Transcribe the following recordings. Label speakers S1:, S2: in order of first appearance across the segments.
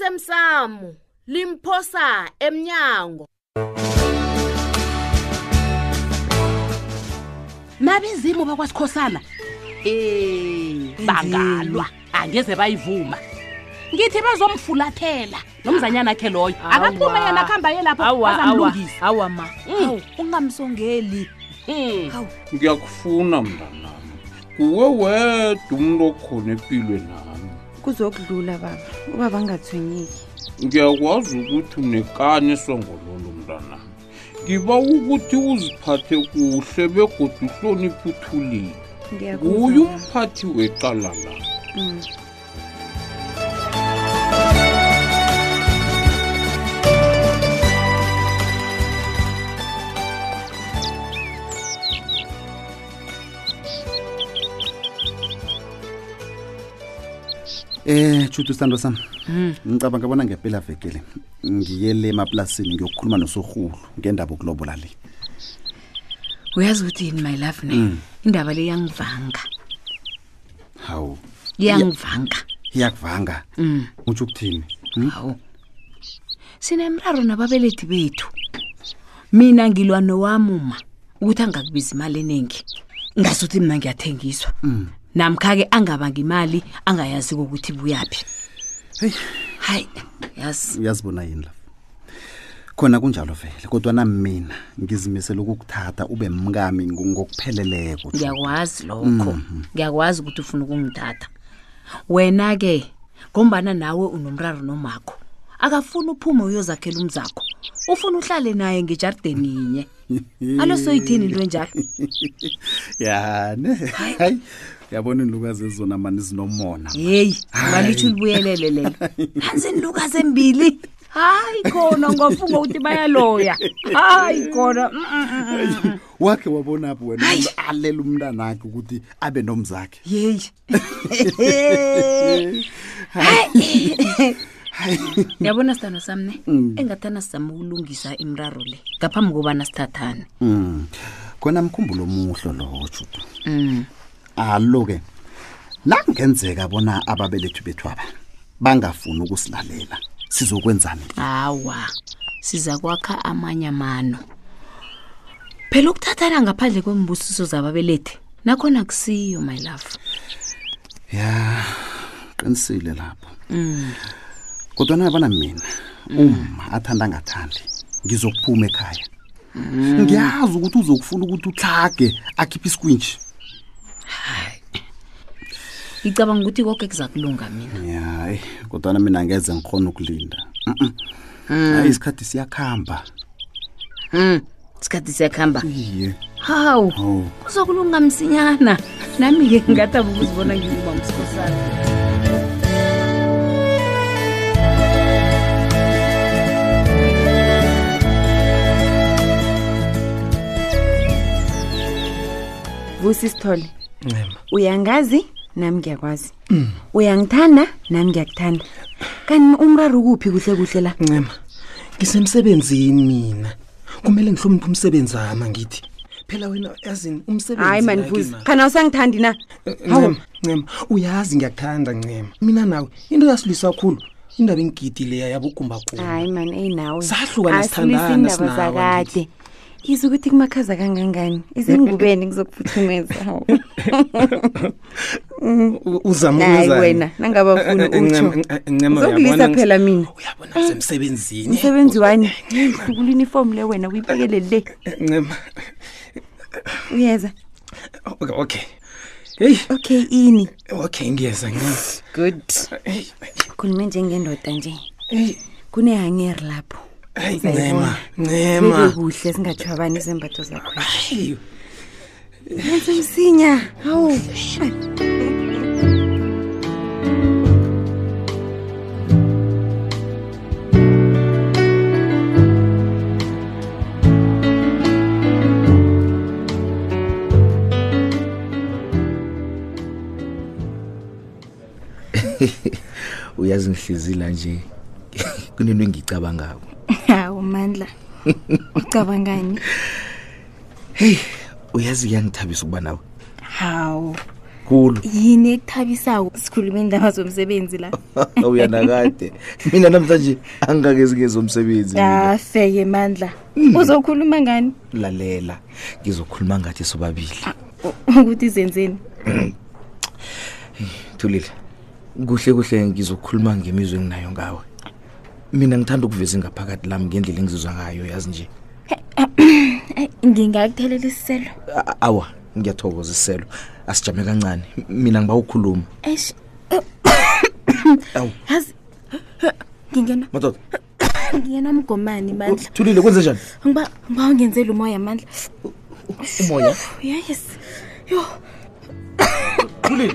S1: lasemsamo limphosa emnyango
S2: mabizimo bakwasikhosana eh bangalwa angeze bayivuma ngithi bazomfulathela nomzanyana akhe loyo
S3: Awa.
S2: akaphuma yena akuhamba ye lapho
S3: awa awa
S2: bazamlungisa
S3: awa ma
S2: Mm.
S3: Awu, ungamsongeli
S2: Mm.
S4: ngiyakufuna mntanami kuwe wedwa umntu okhona empilweni nami
S5: kuzokudlula baba ubaba angathwenyeki
S4: ngiyakwazi ukuthi unekani esongololo mntanami ngiba ukuthi uziphathe kuhle begodwa uhloniphe uthulile nguye
S5: ngiyakuzwa
S4: umphathi weqala la
S5: Mm.
S6: Eh chutu sando sami. Ngicabanga bona ngempela vekele. Ngiye le emaplasini ngiyokukhuluma nosohulu ngendaba okulobola le.
S7: uyazi ukuthi yini my love ne indaba le iyangivanga
S6: Hawu,
S7: iyangivanga
S6: iyakuvanga. Uthi ukuthini?
S7: hawu sinemraro nababelethi bethu mina ngilwa nowami uma ukuthi angakubiza imali eningi ngasothi mina ngiyathengiswa namkha-ke angabangi imali angayaziko ukuthi buyaphi
S6: Hey.
S7: hayi yazi
S6: Uyazibona yini la? Khona kunjalo vele kodwa na mina ngizimisela ukukuthatha ube mngami ngo- ngokupheleleko. Tshu.
S7: ngiyakwazi lokho ngiyakwazi ukuthi ufuna ukungithatha wena-ke ngombana nawe unomraro nomakho akafuni uphume uyozakhela umzakho ufuna uhlale naye ngejardeni yinye alo soyithini into enjalo
S6: Ya ne. Hayi. Yabona inlukazi ezona mani zinomona.
S7: heyi ngalitho ulibuyelele lelo nanzinluka zembili hayi khona ngafunga ukuthi bayaloya hayi khona mm, mm, mm.
S6: Wakhe wabona apho wena umuntu alela umntana wakhe ukuthi abe nomzakhe.
S7: yeyi yabona sithando sami ne engathana sizama ukulungisa imraro le ngaphambi kobana sithathane
S6: Mm. Khona mkhumbulo omuhle lo Judu. Mm. alo-ke nakungenzeka bona ababelethi bethwaba bangafuni ukusilalela sizokwenzani
S7: hawa siza kwakha amanye amano phela ukuthathana ngaphandle kwembusiso zababelethi nakhona kusiyo my love
S6: ya Mm. qinisile lapho kodwa nabana mina Mm. uma athanda ngathandi ngizokuphuma ekhaya Mm. ngiyazi ukuthi uzokufuna ukuthi utlage akhiphe isikwintshi
S7: ngicabanga ukuthi konke kuza kulunga mina
S6: ya eyi kodwana mina angeze ngikhona ukulinda Mm. Mm-mm. hayi isikhathi siyakuhamba
S7: um isikhathi siyakuhamba
S6: iye
S7: hawu kuzokulunga msinyana nami-ke ngathaba ukuzibona ngiuba msikhosana
S5: vusi sithole uyangazi nami ngiyakwazi
S8: Mm.
S5: uyangithanda nami ngiyakuthanda kanti umraro ukuphi kuhle kuhle la
S8: ncema ngisemsebenzini mina kumele ngihloniphe umsebenzi ama ngithi phela wena yazini umsebenzi
S5: hayi mani
S8: yake
S5: vusi
S8: ma.
S5: khana usangithandi na
S8: Eh,
S5: Hawu.
S8: ncema ncema uyazi ngiyakuthanda ncema mina nawe into yasilwisa kakhulu indaba engigidi leya yabogumbagumba
S5: hayi mani eyi nawe
S8: Sahlukana,
S5: Asilisi
S8: sithandana,
S5: iindaba
S8: sinawe,
S5: zakade yize ukuthi kumakhaza kangangani isengubeni ngizokuphuthumeza hawu
S8: uzama
S5: hayi
S8: ukwenzani?
S5: wena nangabe ufuni
S8: Eh, eh,
S5: utsho
S8: Ncema, eh, eh, Ncema,
S5: uzokulisa
S8: uyabona ngi-
S5: phela mina
S8: uyabona ngisemsebenzini
S5: msebenzi wani hlukula uniform le wena uyiphekele le
S8: Eh, ncema
S5: uyeza
S8: okay, okay heyi
S5: okay ini
S8: okay ngiyeza ncema Eh,
S5: good
S8: Eyi,
S5: khulume njengendoda nje
S8: eyi,
S5: kunehangeri lapho
S8: eyi,
S5: Uzayibona.
S8: eh,
S5: bebe
S8: ncema ncema
S5: kuhle singatshwabani izembatho zakho
S8: Eyi,
S5: yenza umsinya hawu
S9: uyazi ngihlizila nje kunento engicabangako
S5: hawu mandla ucabangani
S9: heyi uyazi kuyangithabisa ukuba nawe
S5: hawu
S9: khulu
S5: yini ekuthabisako sikhuluma iindaba zomsebenzi la
S9: uyanakade mina namhlanje angingakezi ngezomsebenzi mina.
S5: afeke mandla uzokhuluma ngani
S9: lalela ngizokhuluma ngathi sobabili
S5: ukuthi zenzeni
S9: thulile kuhle kuhle ngizokhuluma ngemizwe enginayo ngawe mina ngithanda ukuveza ingaphakathi lami ngendlela engizizwa ngayo yazi nje
S5: ngingakuthelela isiselo
S9: A- awa ngiyathokoza isiselo asijame kancane M- mina ngiba ukhuluma
S5: eish
S9: awu
S5: yazi ngingena
S9: madoda
S5: ngingena umgomani mandla
S9: thulile kwenze njani
S5: ngiba ngiba ungenzela umoya mandla
S9: umoya
S5: yes yo
S9: thulile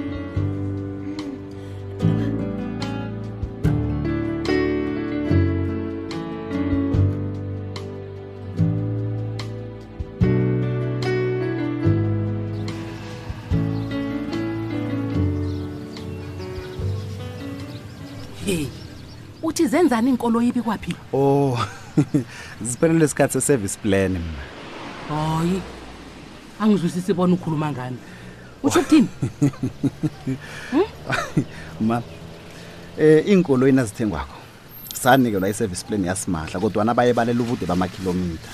S2: e uthi zenzani iinkolo yibi kwaphi
S6: o Oh, ziphelele isikhathi se-service plan mna
S2: hayi angizwisisi bona ukhuluma ngani utsho ukuthini
S6: ma um iy'nkoloyi nazithengwakho sanikelwa i-service plan yasimahla kodwana baye balela ubude bamakhilomitha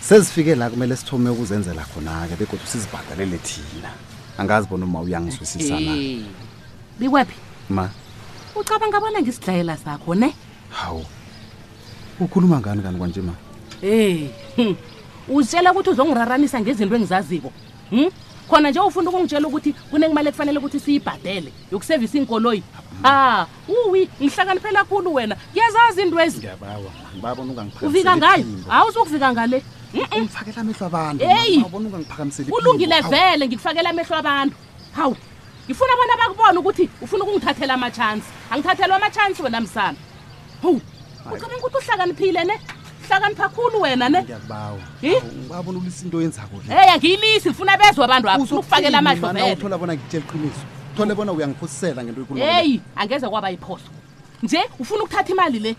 S6: sezifike la kumele sithome ukuzenzela khona-ke begodwa sizibhadalele thina angazi bona uma uyangizwisisa na
S2: Eh, bikwaphi
S6: ma
S2: ucabanga bona ngisidlayela sakho ne
S6: hawu ukhuluma ngani kani kwanje ma
S2: Eh, hm, uzitshela ukuthi uzongiraranisa ngezinto engizaziko hm? khona nje ufuna ukungitshela ukuthi kunemali ekufanele ukuthi siyibhadele yokusevisa iinkoloyi ha uwi ngihlakaniphela khulu wena kuyazazi into ezi
S6: ngiyabawa ngibabona
S2: ufika ngayo Ah, awuzukufika ngale Mm-mm.
S6: ungifakela amehlo abantu
S2: Eyi!
S6: awubona ungangiphakamiseli
S2: ulungile vele ngikufakela amehlo abantu hawu ngifuna bona bakubone ukuthi ufuna ukungithathela amatshansi angithathelwa amatshansi wena msana howu ucabanga ukuthi uhlakaniphile ne hlakanipha khulu wena ne
S6: ngiyakubawa
S2: Eh?
S6: ngibabona ulisa into oyenzako le
S2: eyi angiyilisi ngifuna bezwe abantu abo funa Eh, ukufakela amahlo vele
S6: uthola bona ngitshela iqiniso thole bona uyangiphosisela ngento yokhuluma le.
S2: heyi angeze kwaba yiphoso nje ufuna ukuthatha imali le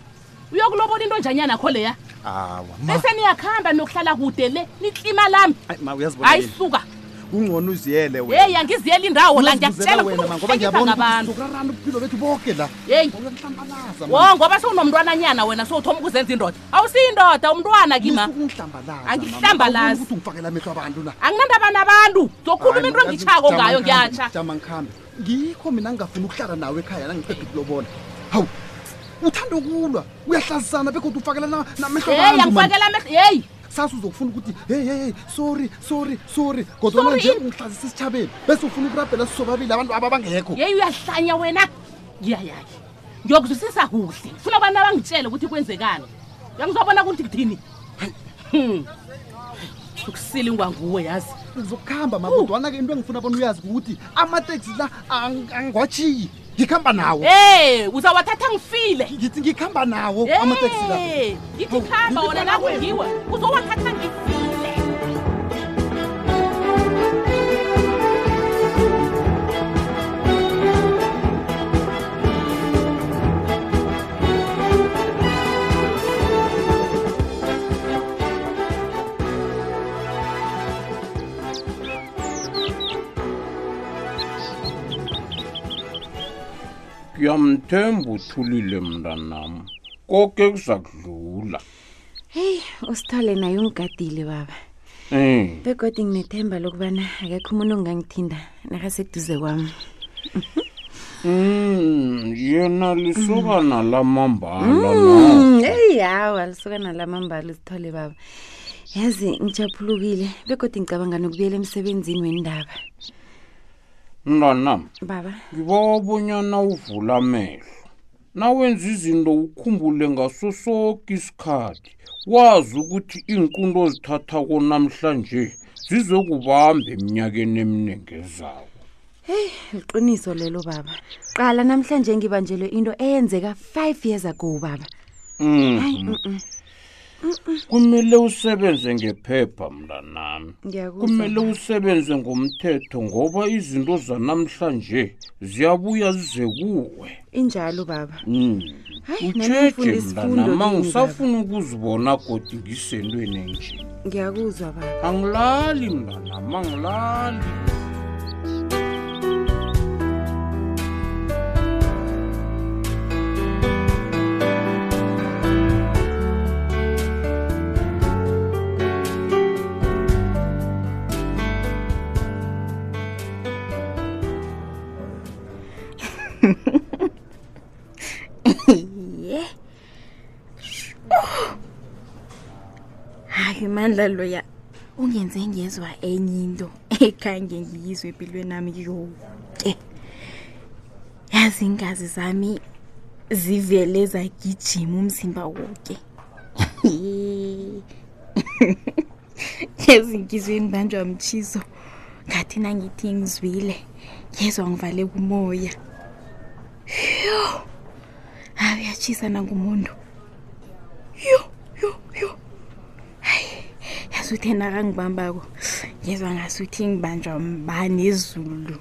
S2: uyokulobola into njanyana kho leya
S6: awa ma
S2: bese niyakuhamba niyokuhlala kude le nitlima lami
S6: Ayi, ma uyazibona
S2: hayi
S6: yini?
S2: suka
S6: kungcono uziyele wena.
S2: heyi angiziyela indawo la ngiyakutshela
S6: Ungazibuzela wena ma, ngoba
S2: ngiyakutshela
S6: ngiyabona ukuthi
S2: ngabantu
S6: sizokurarana ubuphilo bethu boke la
S2: heyi
S6: uyangihlambalaza
S2: wo ngoba sewunomntwananyana wena sowuthoma ukuzenza indoda awusiyindoda umntwana kima
S6: ukungihlambalaza
S2: Angihlambalazi.
S6: ukuthi ungifakela amehlo abantu la
S2: anginandaba nabantu zokhuluma into engitshako ngayo ngiyatsha
S6: jama ngikhambe ngikho mina ngingafuni ukuhlala nawe ekhaya nangiqeda ukulobona hawu uthanda ukulwa uyahlazisana bekodwa ufakela na- namehlo
S2: heyi
S6: abantu man.
S2: angifakela amehlo heyi
S6: sasa uzokufuna ukuthi hey hey hey sorry sorry sorry
S2: Sorry
S6: kodwana nje
S2: ini?
S6: ungihlazisa isithabeni bese ufuna ukurabhela sisobabili abantu ababangekho
S2: yeyi uyahlanya wena ngiyayaki ngiyokuzwisisa kuhle funa abantu abangitshele ukuthi kwenzekani uyangizobona ukuthi kuthini Hmm. ukusila ingwanguwe yazi
S6: ngizokuhamba makodwana-ke into engifuna bona uyazi ukuthi amateksi la ang- angiwatshiyi ngikuhamba nawo
S2: e uzawathatha ngifile
S6: ngithi ngikuhamba nawo amateksi la
S2: Eh, ngithi khamba wona nakungiwe uzowathatha ngifile
S4: ngiyamthemba uthulile mntanam koke kuza kudlula
S5: heyi usithole naye ungigadile baba
S4: um
S5: begodwa nginethemba lokubana akekho umuntu ongangithinda nakaseduze kwami
S4: Mm, yena lisokana lamambala
S5: Mm.
S4: na
S5: eyi hawa lisuka nalamambala usithole baba yazi ngijaphulukile begodwa ngicabanga nokubuyela emsebenzini wendaba
S4: mntanam
S5: baba
S4: ngibabonyana uvula amehlo nawenza izinto ukhumbule ngaso soke isikhathi wazi ukuthi iinkundo ozithathako namhlanje zizokubamba eminyakeni eminingi ezawo
S5: liqiniso lelo baba qala namhlanje ngibanjelwe into eyenzeka five years ago baba
S4: Mhm. kumele usebenze ngephepha mntanami
S5: Ngiyakuzwa,
S4: kumele
S5: baba.
S4: usebenze ngomthetho ngoba izinto zanamhlanje ziyabuya zize kuwe
S5: injalo baba
S4: Mm.
S5: Hayi, nami ngifunda
S4: utsheje
S5: isifundo
S4: mntanama
S5: kini, baba.
S4: ngisafuna ukuzibona godi ngisentweni enje
S5: ngiyakuzwa baba
S4: angilali mntanama angilali
S5: ye hayi mandla loya ungenze ngezwa enye into ekhange ngiyizwe empilweni nami yonke yazi iingazi zami zivele zagijima umzimba wonke yazi ngizweni banjwa mtshiso ngathi nangithi ngizwile ngezwa ngivale kumoya hayi uyatshisa nangumuntu yo yo yo hayi yazi uthe nakangibambako ngezwa ngasuthi ngibanjwa mbani ezulu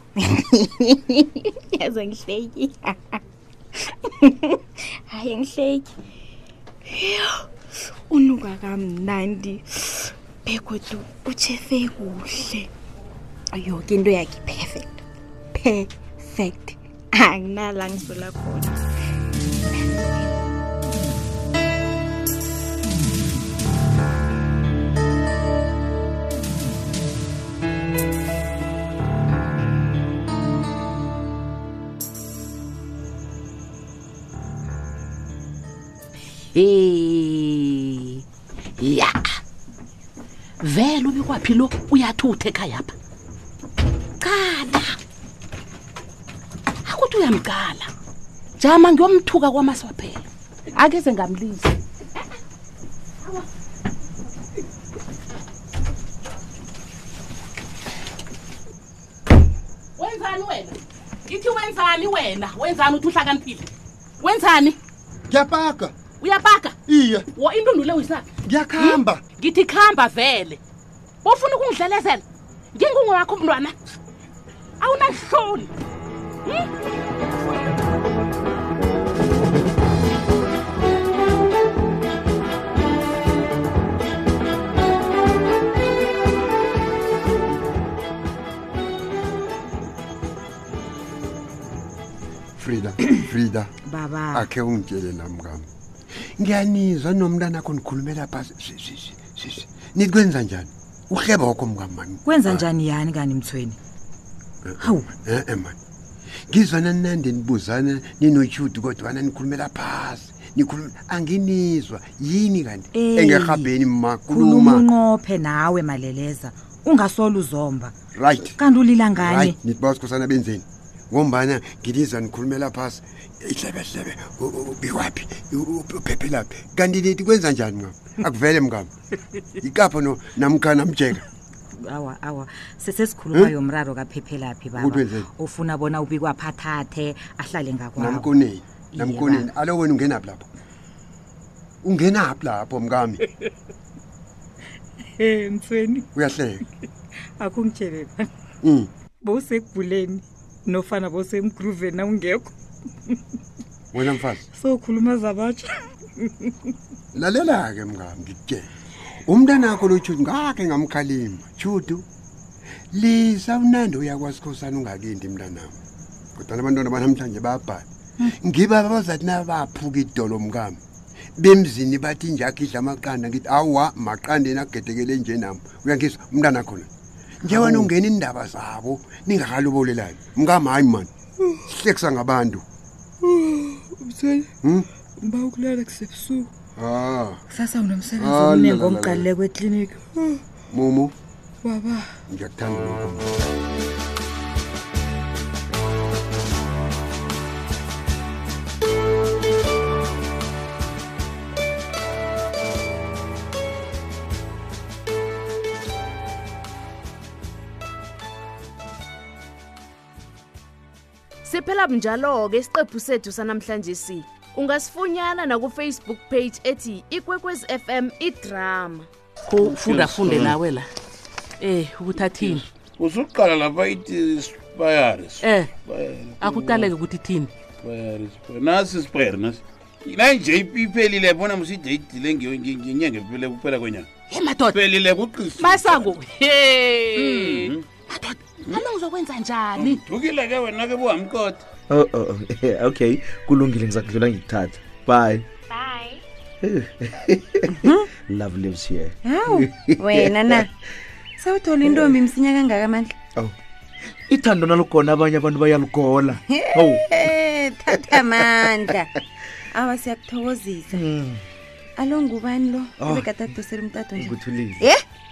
S5: yazi angihleki hayi angihleki yo unuka kamnandi begodu utshefe kuhle yoke into yakhe perfect perfect anginala ngizola khona
S2: Eh. Ya. Vele ubikwaphi lo uyathutha ekhaya apha. Qala. Akuthi uyamqala. Jama ngiyomthuka kwamaswaphela. Akeze ngamlisa. Wenzani wena? Ithi wenzani wena? Wenzani uthi uhlakaniphile? Wenzani?
S8: ngiyapaka
S2: Uyapaka?
S8: iye
S2: wo intundu le uyisaphi
S8: ngiyakuhamba
S2: ngithi khamba vele bofuna ukungidlelezela ngingungu wakho mntwana awunanhloni
S3: frida frida
S5: baba
S3: akhe ungitshele namkami ngiyanizwa nomntana akho nikhulumela phasi Si- si- si- si- si. nikwenza njani uhlebokho mkami mani
S10: kwenza njani yani kani mthweni hawu
S3: e-e mani ngizwana ninande nibuzana ninotshudu kodwana nikhulumela phasi nikhulumela anginizwa yini kanti
S10: Eh.
S3: engehabheni
S10: khuluma
S3: ma khuluma
S10: unqophe nawe maleleza ungasolo uzomba
S3: right
S10: kanti ulila ngani
S3: right nithi bawasikhosana benzeni ngombana ngilizwa nikhulumela phasi ihlebehlebe ubiwaphi uphephelaphi kanti nithi kwenza njani mngam akuvele mngam ikapho no- namkha namjeka
S10: awa awa sesesikhuluma yomraro kaphephelaphi baba
S3: Ukuthi wenzeni?
S10: ufuna bona ubikwaphathathe ahlale ngakwabo
S3: namkoneni
S10: Iye,
S3: namkoneni alo wena ungenaphi lapho ungenaphi lapho mkami
S10: e mthweni
S3: uyahleka
S10: akungitshele bani
S3: Mm.
S10: bowusekubhuleni nofana bowusemgruveni nawungekho
S3: wena mfazi
S10: sokhuluma zabatsha
S3: lalela-ke mngam ngikutshela umntanakho lo chudu ngakhe ngamkhalima chudu lisa unande uyakwasikhosana ungakindi mntanam kodwana abantwana banamhlanje bayabhala ngibaba bazathi nabaphuka idolo mkami bemzini bathi nje akhidla amaqanda ngithi awa maqandeni agedekele nje nami uyangizwa umntana khona nje wena ungena indaba zabo ningakalobolelani mkami hayi mani sihlekisa ngabantu Hmm?
S10: uba ukulala kusebusuku
S3: ah
S10: kusasa unomsebenzi
S3: Ah,
S10: omningi
S3: la, la, la, la.
S10: omqalileko ekliniki
S3: mumu
S10: baba
S3: ngiyakuthanda lokho mama.
S1: siphela bunjalo-ke isiqephu sethu sanamhlanje si ungasifunyana nakufacebook page ethi ikwekwezi fm idrama
S2: kufundafunde nawe la eh ukuthathini
S4: usuqala lapha ithi sipayari
S2: eh akuqaleke ukuthi thini
S4: nasi sipayari nasi nanje iphelile bona muside idile nge- nge- ngenyanga ephele kuphela kwenyanga
S2: ye Eh, madoda
S4: phelile kuqisa
S2: masango he
S4: Mhm.
S2: madoda nami ngizokwenza njani
S4: dukile ke wena ke buhamkota
S9: oh, oh, oh. okay kulungile ngiza kudlula ngikuthatha bye love lives here
S5: hawu wena na sawuthola intombi msinya kangaka mandla
S9: oh. ithando nalugona abanye abantu bayalugola oh.
S5: Eh.
S8: thatha amandla awa siyakuthokozisa alo ngubani lo
S9: Oh.
S8: ebegadadosela umtato nje
S9: Nguthulile.
S8: ye